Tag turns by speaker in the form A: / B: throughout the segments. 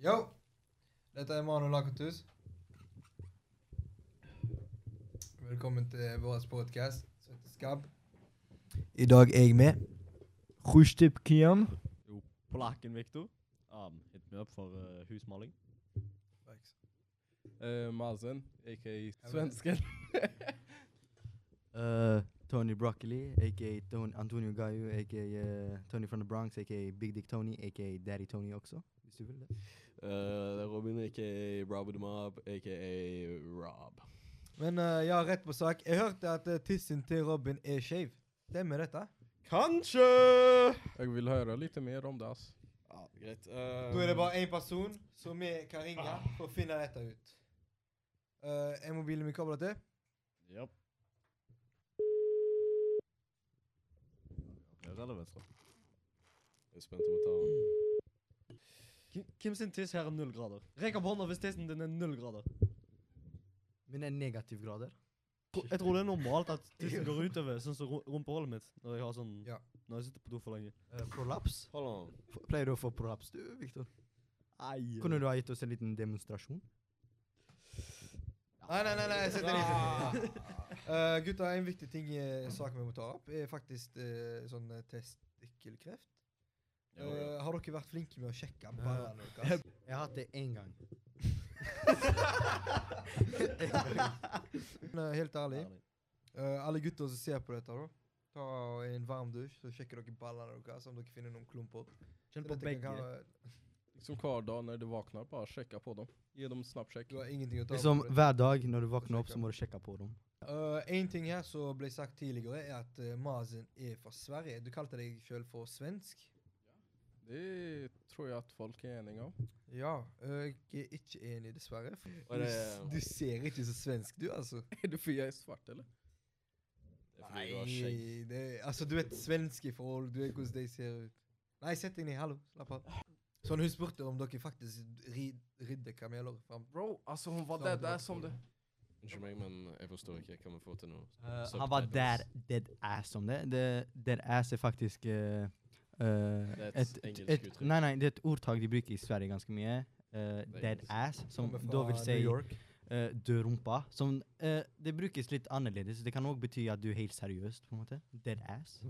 A: Yo! Dette er Manu Lakatus. Velkommen til vår podcast som heter Skabb. I dag er jeg med.
B: Rushtip Kian.
C: Polakken Victor. Um, hit me up for uh, husmaling.
D: Eh, Mazen, aka svensken.
B: Uh, Tony Broccoli, aka Tony Antonio Gayu, aka uh, Tony from the Bronx, aka Big Dick Tony, aka Daddy Tony også. Hvis du vil det.
D: Eh, det er Robin, aka Robert Mob, aka Rob.
A: Men eh, ja, rett på sak. Jeg hørte at eh, tissen til Robin er skeiv. Stemmer dette?
D: Kanskje! Jeg vil høre litt mer om det, ass. Ja, greit. Eh,
A: Da er det bare én person som vi kan ringe for å finne dette ut. Eh, er mobilen min kobla til?
C: Yep. Relevant.
D: Jeg er spent om å ta den.
C: Hvem sin tiss her er null grader? Rekk opp hånda hvis tissen din er null grader.
B: Men er negativ grader.
C: Tro- Jeg tror det er normalt at tissen går utover sånn som ru- rumpehullet mitt når jeg har sånn
A: Ja.
C: Når jeg sitter på do for lenge.
B: Uh, prolaps?
D: Hold on.
B: F- Pleier du å få prolaps du, Victor?
C: Nei.
B: Kunne du ha gitt oss en liten demonstrasjon?
A: Nei, nei, nei, nei jeg sitter litt uh, Gutta, en viktig ting eh, sak vi må ta opp, er faktisk eh, sånn eh, testikkelkreft. Eh, har dere vært flinke med å sjekke ballene deres?
B: Jeg har hatt det én gang.
A: Men, eh, helt ærlig, eh, alle gutter som ser på dette, da. Ta en varm dusj, så sjekker dere ballene deres om dere finner noen klumper.
C: Kjenn på
A: Dette kan
C: begge.
A: være-
D: Liksom hver dag når du våkner, bare sjekke på dem. Gi dem snappsjekk.
A: Du har ingenting å ta
B: Liksom
A: på. det.
B: Hver dag når du våkner opp, så må du sjekke på dem.
A: Eh, en ting her som ble sagt tidligere, er at eh, Mazen er fra Sverige. Du kalte deg sjøl for svensk.
D: Det tror jeg at folk er enige om.
A: Ja, eh, jeg er ikke enig, dessverre. for
D: Og
A: Du,
D: det-
A: s- du ser ikke så svensk, du, altså.
D: Er det fordi jeg er svart, eller? Det
A: Nei, det, altså, du vet svenske forhold, du vet hvordan de ser ut. Nei, sett deg ned, hallo, slapp av. Sånn, hun spurte om dere faktisk ri, ridder kameler fram.
D: Bro, altså hun var
A: der, der som det-
D: Unnskyld meg, men jeg forstår ikke. Kan vi få til noe?
B: han var der dead ass om det. det dead ass er faktisk eh, eh,
D: Det er et engelsk uttrykk.
B: Nei, nei, det er et ordtak de bruker i Sverige ganske mye. eh,
D: er
B: dead
D: engelsk.
B: ass, som
A: Kommer fra
B: da vil si
A: New York.
B: eh, død rumpa. Som eh, Det brukes litt annerledes. Det kan òg bety at du er helt seriøst, på en måte. Dead ass.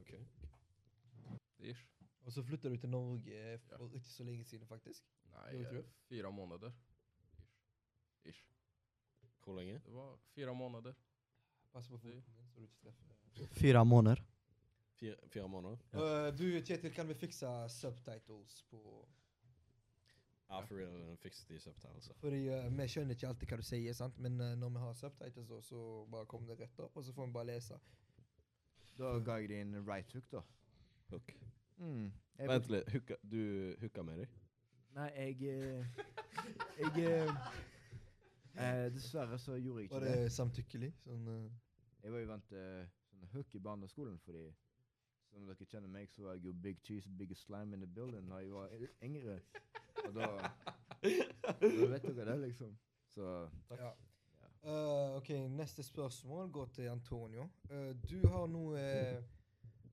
D: Ok. Ish.
A: Og så flytta du til Norge
D: Ja.
A: for ikke så lenge siden, faktisk.
D: Nei,
A: Jo,
D: eh,
A: tror jeg.
D: fire måneder. Ish. Ish. Hvor lenge? Det var fire måneder.
A: Pass på foten din, så du ikke treffer.
B: Fire måneder.
D: Fire, måneder?
A: Eh, du, Kjetil, kan vi fikse subtitles på
D: Ja, for real. Fikset altså. de subtitles.
A: Fordi eh, vi skjønner ikke alltid hva du sier, sant? men eh, når vi har subtitles, da, så bare kommer det rett opp, og så får vi bare lese.
E: Da ga jeg deg en right hook, da.
D: Hook.
E: Mm. Jeg
D: Vent litt. Hooka, du hooka med dem?
E: Nei, jeg eh, Jeg eh, eh, Dessverre så gjorde jeg ikke
A: Var
E: det.
A: det samtykkelig? Sånn, eh,
E: Jeg var jo vant eh, sånn hook i barneskolen fordi som dere kjenner meg, så var jeg jo big cheese, biggest slime in the building da jeg var y- yngre. Og da Da vet dere det, liksom. Så
A: Ja. Eh, ok, neste spørsmål går til Antonio. Eh, du har noe eh,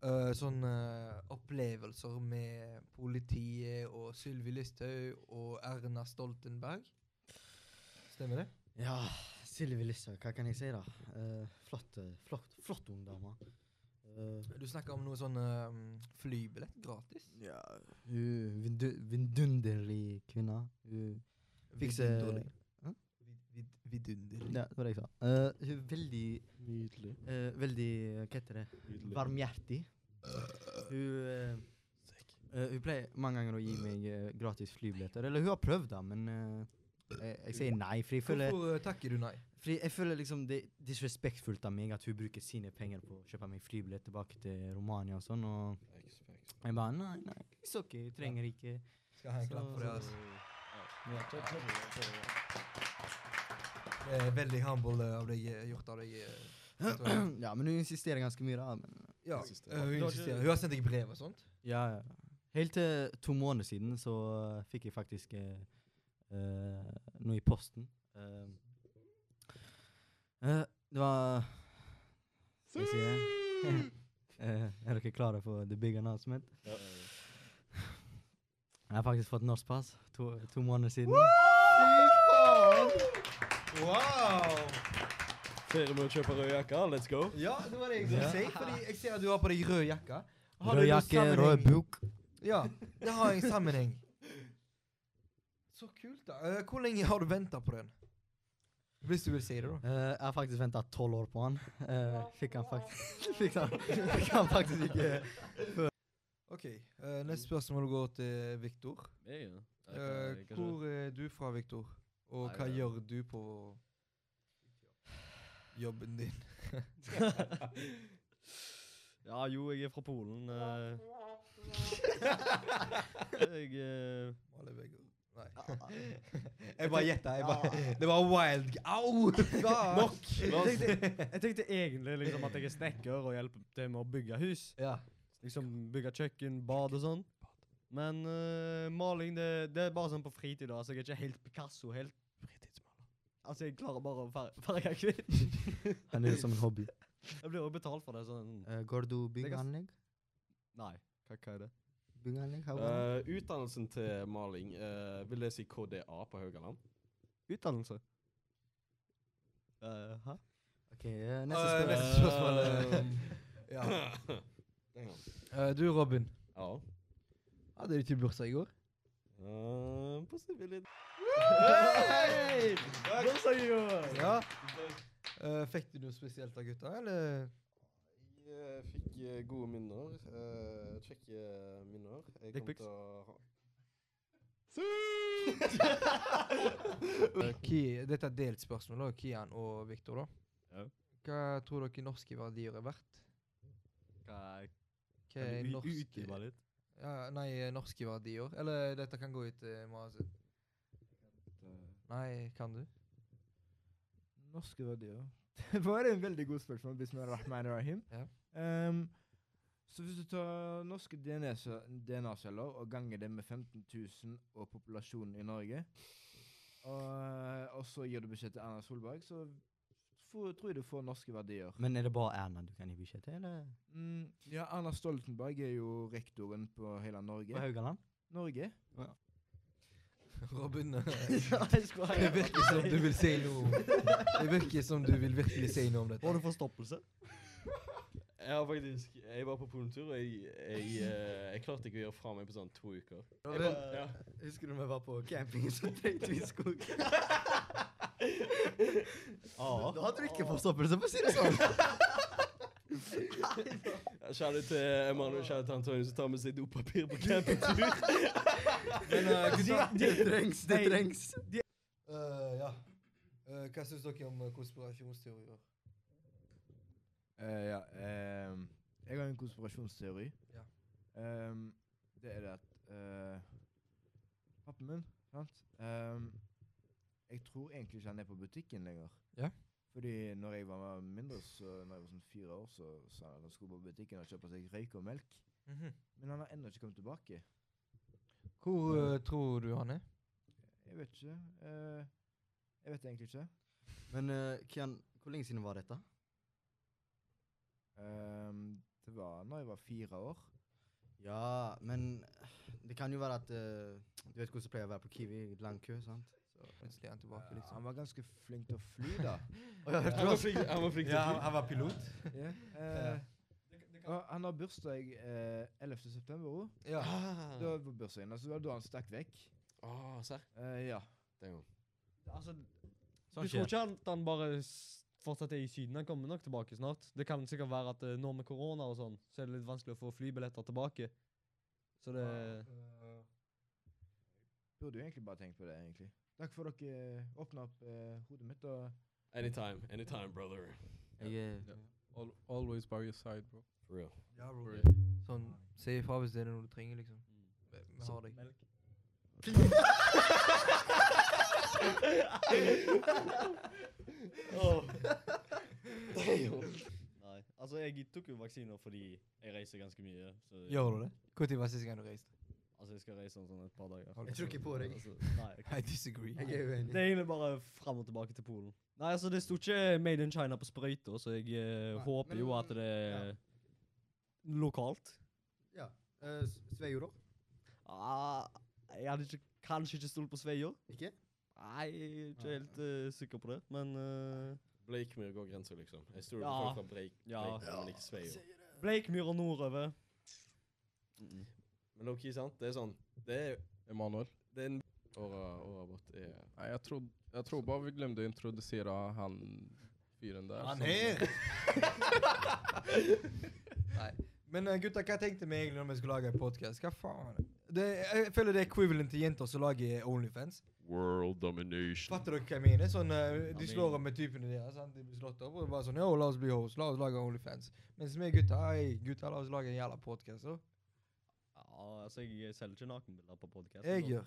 A: eh, sånne opplevelser med politiet og Sylvi Listhaug og Erna Stoltenberg. Stemmer det?
B: Ja, Sylvi Listhaug, hva kan jeg si, da? Eh, flott, eh, flott, flott ung dame. Eh,
A: Du snakker om noe sånn eh, flybillett gratis.
B: Ja, hun vindu- Vidunderlig kvinne. Hun fikser
A: Vidunderlig.
B: Hæ?
A: Vid- vid- Vidunderlig.
B: Ja, det var det jeg sa. Eh, hun er veldig
D: Nydelig.
B: eh, Veldig eh, Hva heter det? Varmhjertig. Hun eh, eh, Hun pleier mange ganger å gi meg eh, gratis flybilletter. Eller hun har prøvd, da, men eh, jeg, jeg sier nei. For jeg føler,
A: Hvorfor eh, takker du nei?
B: fordi jeg føler liksom det er disrespektfullt av meg at hun bruker sine penger på å kjøpe meg flybillett tilbake til Romania og sånn. Og jeg bare nei, nei, it's ok, jeg trenger ikke.
A: Skal ha en
B: Så-
A: klapp for det. altså.
B: Ja.
A: Det er veldig humble eh, av deg, eh, gjort av deg. eh, Antonio.
B: Ja, men hun insisterer ganske mye, da. Men
A: Ja,
D: Insisterer.
A: eh, hun
C: Du har
A: insisterer.
C: ikke-
A: Hun har sendt deg brev og sånt.
B: Ja, ja. Helt til to måneder siden så eh, fikk jeg faktisk eh, eh, noe i posten. Eh, eh, det var Skal jeg si det? Eh, er dere klare for the big announcement? Jeg har faktisk fått norsk pass to, to måneder siden.
A: Wow!
C: Flere må kjøpe rød jakke. Let's go.
A: Ja, det var det jeg skulle si. Fordi jeg ser at du har på deg rød jakke. Har
B: Rød
A: det noen
B: jakke,
A: sammenheng-
B: rød buk.
A: Ja, det har en sammenheng. Så kult, da. Eh, hvor lenge har du venta på den? Hvis du vil si det, da.
B: Eh, jeg har faktisk venta tolv år på han. Eh, fikk han faktisk fikk han, fikk han faktisk ikke
A: OK, eh, neste spørsmål går til Viktor.
D: Jeg, ja. Jeg
A: Eh,
D: kan- jeg kan-
A: hvor er du fra, Viktor? Og
D: Nei,
A: hva
D: det-
A: gjør du på jobben din?
C: ja, jo, jeg er fra Polen. eh. jeg eh,
A: Male vegger. Nei. jeg bare gjetta. Jeg bare, det var wild g- Au!
C: Nok!
A: La oss-
C: Jeg tenkte, jeg tenkte egentlig liksom at jeg er snekker og hjelper til med å bygge hus.
A: Ja.
C: Liksom Bygge kjøkken, bad og sånn. Men eh, maling det, det er bare sånn på fritid. da, Altså, jeg er ikke helt Picasso. helt Altså, jeg klarer bare å fer- farge kvitt.
B: Han er jo som en hobby.
C: Jeg blir jo betalt for det. sånn...
B: Eh, går du byggeanlegg?
C: Nei. Hva, hva er det?
B: Byggeanlegg? Hva var det?
D: Eh, utdannelsen til maling, eh, vil det si KDA på Haugaland?
C: Utdannelse. Eh, hæ?
B: Ok, eh, neste
A: Eh,
B: spørsmål.
A: Neste spørsmål. eh, ja. Eh, du, Robin.
D: Ja.
A: Hadde du ikke bursdag i går?
D: Eh, på sivilid.
C: Hei! Hvor sang jeg går?
A: Ja. Eh, fikk du noe spesielt av gutta, eller?
D: Jeg fikk eh, gode minner. eh, kjekke minner. Jeg
C: Dick
D: kommer
C: pics.
D: til å ha
A: Eh, Ki, dette er delt spørsmål, da. Kian og Viktor, da.
C: Ja.
A: Hva tror dere norske verdier er verdt?
C: Nei,
A: Hva er
C: kan du u-
A: norske
C: utdype litt?
A: ja, Nei, norske verdier. Eller dette kan gå ut eh, til Masit. Nei, kan du?
E: Norske verdier. Det var en veldig god spørsmål. Bismillahirrahmanirrahim.
A: Ja.
E: Ehm, så hvis du tar norske DNA-celler og ganger det med 15 000 og populasjonen i Norge, og, eh, og så gir du beskjed til Erna Solberg, så får, tror jeg du får norske verdier.
B: Men er det bare Erna du kan gi beskjed til, eller?
E: Mm, ja, Erna Stoltenberg er jo rektoren på hele
B: På
E: Norge.
B: Haugaland?
E: Norge?
A: Robin. eh,
C: jeg skulle
A: Det virker som du vil si noe Det virker som du vil virkelig si noe om dette.
C: Var det forstoppelse?
D: Jeg har faktisk Jeg var på polentur, og jeg, jeg, eh, jeg klarte ikke å gjøre fra meg på sånn to uker. Jeg
B: Robin.
D: kom- ja.
B: Husker du vi var på camping, så trengte vi skog? Da hadde du ikke forstoppelse, for å si det sånn.
D: Kjære til Emanuel, kjære til Antonio, som tar med seg dopapir på campingtur.
A: Men eh, gutta
B: Det trengs, det
C: Nei.
B: trengs.
A: Eh, Ja. Eh, hva syns dere om eh, konspirasjonsteorier?
E: Eh, ja. ehm, jeg har en konspirasjonsteori.
A: Ja.
E: Ehm, det er det at eh, Pappen min, sant Ehm, Jeg tror egentlig ikke han er på butikken lenger.
A: Ja.
E: Fordi når jeg var mindre, så når jeg var sånn fire år, så sa han at han skulle på butikken og kjøpe seg røyk og melk.
A: Mhm.
E: Men han har ennå ikke kommet tilbake.
A: Hvor eh, tror du han er?
E: Jeg vet ikke. eh, jeg vet egentlig ikke.
B: Men eh, Kian, hvor lenge siden var dette?
E: Ehm, det var når jeg var fire år.
B: Ja, men eh, det kan jo være at eh, Du vet hvordan det pleier å være på Kiwi? Lang kø, sant?
A: Så plutselig er han tilbake,
E: Eh, han
A: liksom.
E: var ganske flink til å fly, da.
D: Han var flink, han var flink til å fly.
A: var pilot?
E: Ja. eh, og han har bursdag eh, 11. september òg.
A: Ja.
E: Da var bursdagen hans, Altså, det var da han stakk vekk.
D: Ah, serr.
E: Eh, ja.
D: Det er jo-
C: Altså,
B: Sånn
C: du tror
B: skjer.
C: ikke at han bare s- fortsatt er i Syden? Han kommer nok tilbake snart. Det kan sikkert være at eh, nå med korona og sånn, så er det litt vanskelig å få flybilletter tilbake. Så det
E: Burde jo egentlig bare tenkt på det, egentlig. Takk for at dere åpna opp eh, hodet mitt. og...
D: Anytime, anytime, brother.
B: Jeg eh, er
F: Al always by your side, bro.
D: For real.
A: ja bro. Sånn, Si ifra hvis det er noe du trenger, liksom. Vi vi har deg.
C: Nei. Altså, jeg tok jo vaksiner fordi jeg reiser ganske mye. Så
A: Gjør du det? Når var sist gang du reiste?
C: Altså, jeg skal reise om sånn et par dager.
A: Har du
B: Jeg tror ikke på deg.
C: Altså, nei, jeg
A: I disagree.
B: Jeg er
C: Det
B: uenig.
C: er egentlig bare fram og tilbake til Polen. Nei, altså det sto ikke 'Made in China' på sprøyta, så jeg eh,
B: Nei,
C: håper
B: men-
C: jo at det er lokalt.
B: Ja. Uh, Sveio, da?
C: Ah, Jeg hadde ikke, kanskje ikke stolt på Sveio.
B: Ikke?
C: Nei, jeg er ikke helt eh, sikker på det, men eh,
D: Bleikmyr går grensa, liksom. Jeg stoler
C: Ja.
D: på folk fra Bleik,
C: Ja.
D: Bleikmyr, men ikke Sveio.
C: Bleikmyr og nordover.
D: Men low-key, sant? Det er sånn Det er,
F: Emanuel?
D: det er en Åra, åra bort er
F: Nej, jag, tror, jag tror bara vi glömde introducera han fyren där.
A: Han
F: som-
A: her! Nei. Men eh, gutta, hva tenkte vi egentlig når vi skulle lage en podkast? Hva faen? Det, jeg føler det er equivalent til jenter som lager Onlyfans.
G: World domination.
A: Fatter dere hva jeg mener? Sånn, eh, de slår opp med typene deres. Sant? De blir slått opp, og det er bare sånn Yo, la oss bli hoes. La oss lage Onlyfans. Mens vi gutta Hei, gutta, la oss lage en jævla podkast.
C: Ja, altså, jeg selger ikke nakenbilder på podkasten.
A: Jeg gjør.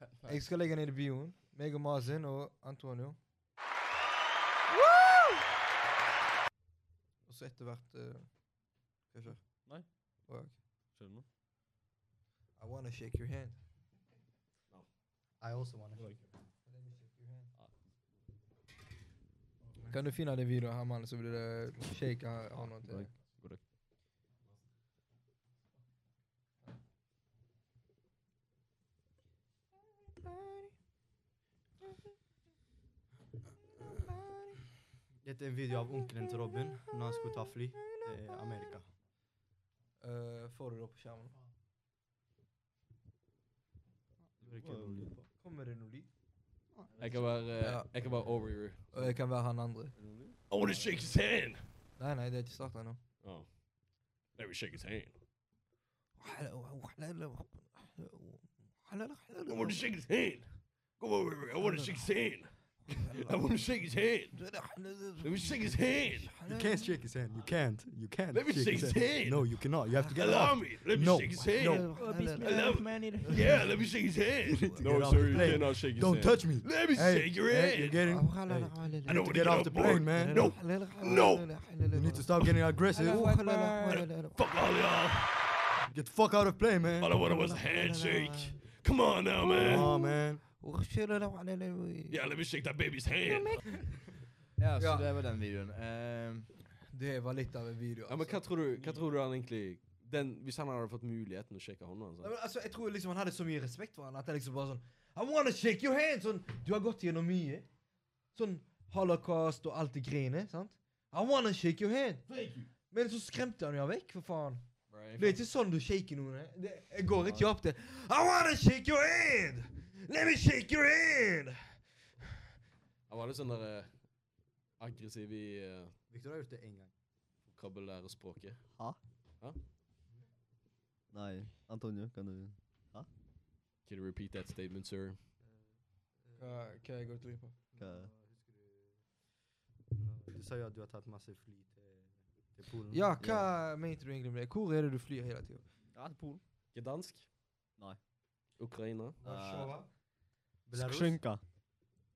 A: Jeg skal legge ned i bioen. Meg og Mazin og Antonio. Og så etter hvert eh, Skal vi se.
C: Nei.
A: Å, ja, ok.
C: Skjønner du?
A: Oh, I wanna shake your hand.
B: I also wanna.
A: Kan du finne den videoen her, mann, så blir det eh, shake her, Arnold eh. til deg.
B: Dette er en video av onkelen til Robin når han skulle ta fly til Amerika.
A: Eh, får du det opp på skjermen? Kommer det noe lyd?
D: Jeg kan være
A: Ja.
D: Jeg kan være Overeater.
A: Og jeg kan være han andre.
D: I wanna shake his hand!
A: Nei, nei, det er ikke starta ennå.
D: Oh. Let me shake his hand. I wanna shake his hand. Come over here. I wanna shake his hand. I wanna shake his hand. Let me shake his hand.
B: You can't shake his hand. You can't. You can't.
D: Let me shake his hand.
B: No, you cannot. You have to get it
D: Allow
B: off.
D: me. Let me
B: No.
D: shake his hand.
E: Hello, Oh, man.
D: Yeah, let me shake his hand.
B: No, Get off sir, the you plane.
G: cannot shake
B: Don't touch me.
D: Let me
B: Hey,
D: shake your
B: hey, you're
D: hand.
B: getting. Hey,
D: I don't want to
B: get
D: get
B: off
D: on
B: the
D: board.
B: plane, man.
D: No. No.
B: You need to stop getting aggressive.
D: Fuck all y'all.
B: Get the fuck out of plane,
D: All I
B: man.
D: wanted was a handshake. Come on now, man.
B: Oh, man.
D: Yeah, let me shake that baby's hand.
E: Ja, så
A: Ja.
E: det var den videoen. Ehm,
A: Det var litt av en video.
D: Ja, men hva tror du, hva tror du han egentlig den, Hvis han hadde fått muligheten å sjekke hånda hans
A: Nei, men altså, jeg tror liksom han hadde så mye respekt for han at jeg liksom bare sånn I wanna shake your hand! Sånn, du har gått gjennom mye. Sånn holocaust og alt det greiene, sant? I wanna shake your hand! Men så skremte han jo han vekk, for faen. Det er ikke sånn du shaker noen. eh. Det, jeg går ikke opp til I wanna shake your hand! Let me shake your hand!
D: Han var litt sånn der eh, aggressiv i eh,
B: Victor har gjort det en gang.
D: vokabulære-språket.
C: Nei. Antonio, kan du
D: Can you repeat that statement, sir?
A: Hva, hva jeg går til på?
C: Hva?
B: Du sa jo at du har tatt masse fly til, til Polen.
A: Ja, hva mente du egentlig med det? Hvor er det du flyr hele tida?
C: Ja, til Polen.
D: Gdansk?
C: Nei.
D: Ukraina?
C: Eh,
B: Belarus?
C: Skskynka.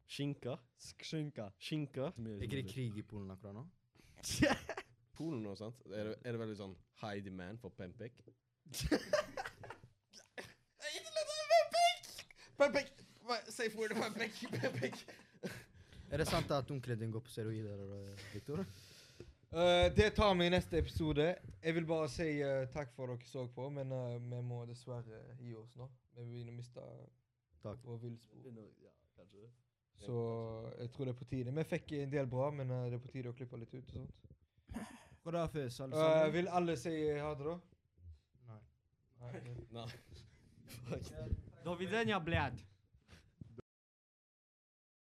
D: Skinka?
C: Skskynka.
D: Skinka?
B: Er ikke det krig i Polen akkurat nå?
D: Polen nå, sant? Er det, er det veldig sånn high demand for Pempek? Pempek! Pempek! Safe word Pempek! Pempek!
B: Er det sant at onkelen din går på steroider, uh, Victor?
A: Eh, det tar vi i neste episode. Jeg vil bare si eh, takk for at dere så på, men eh, vi må dessverre gi oss nå. Vi begynner å miste
B: Takk.
A: vår villspor.
C: Ja, kanskje det.
A: Så eh, jeg tror det er på tide. Vi fikk en del bra, men eh, det er på tide å klippe litt ut. og sånt.
E: Godafis, alle
A: Eh,
E: sammen.
A: vil alle si ha det, da?
B: Nei.
A: Nei.
D: Nei.
C: Do widzenia, blad.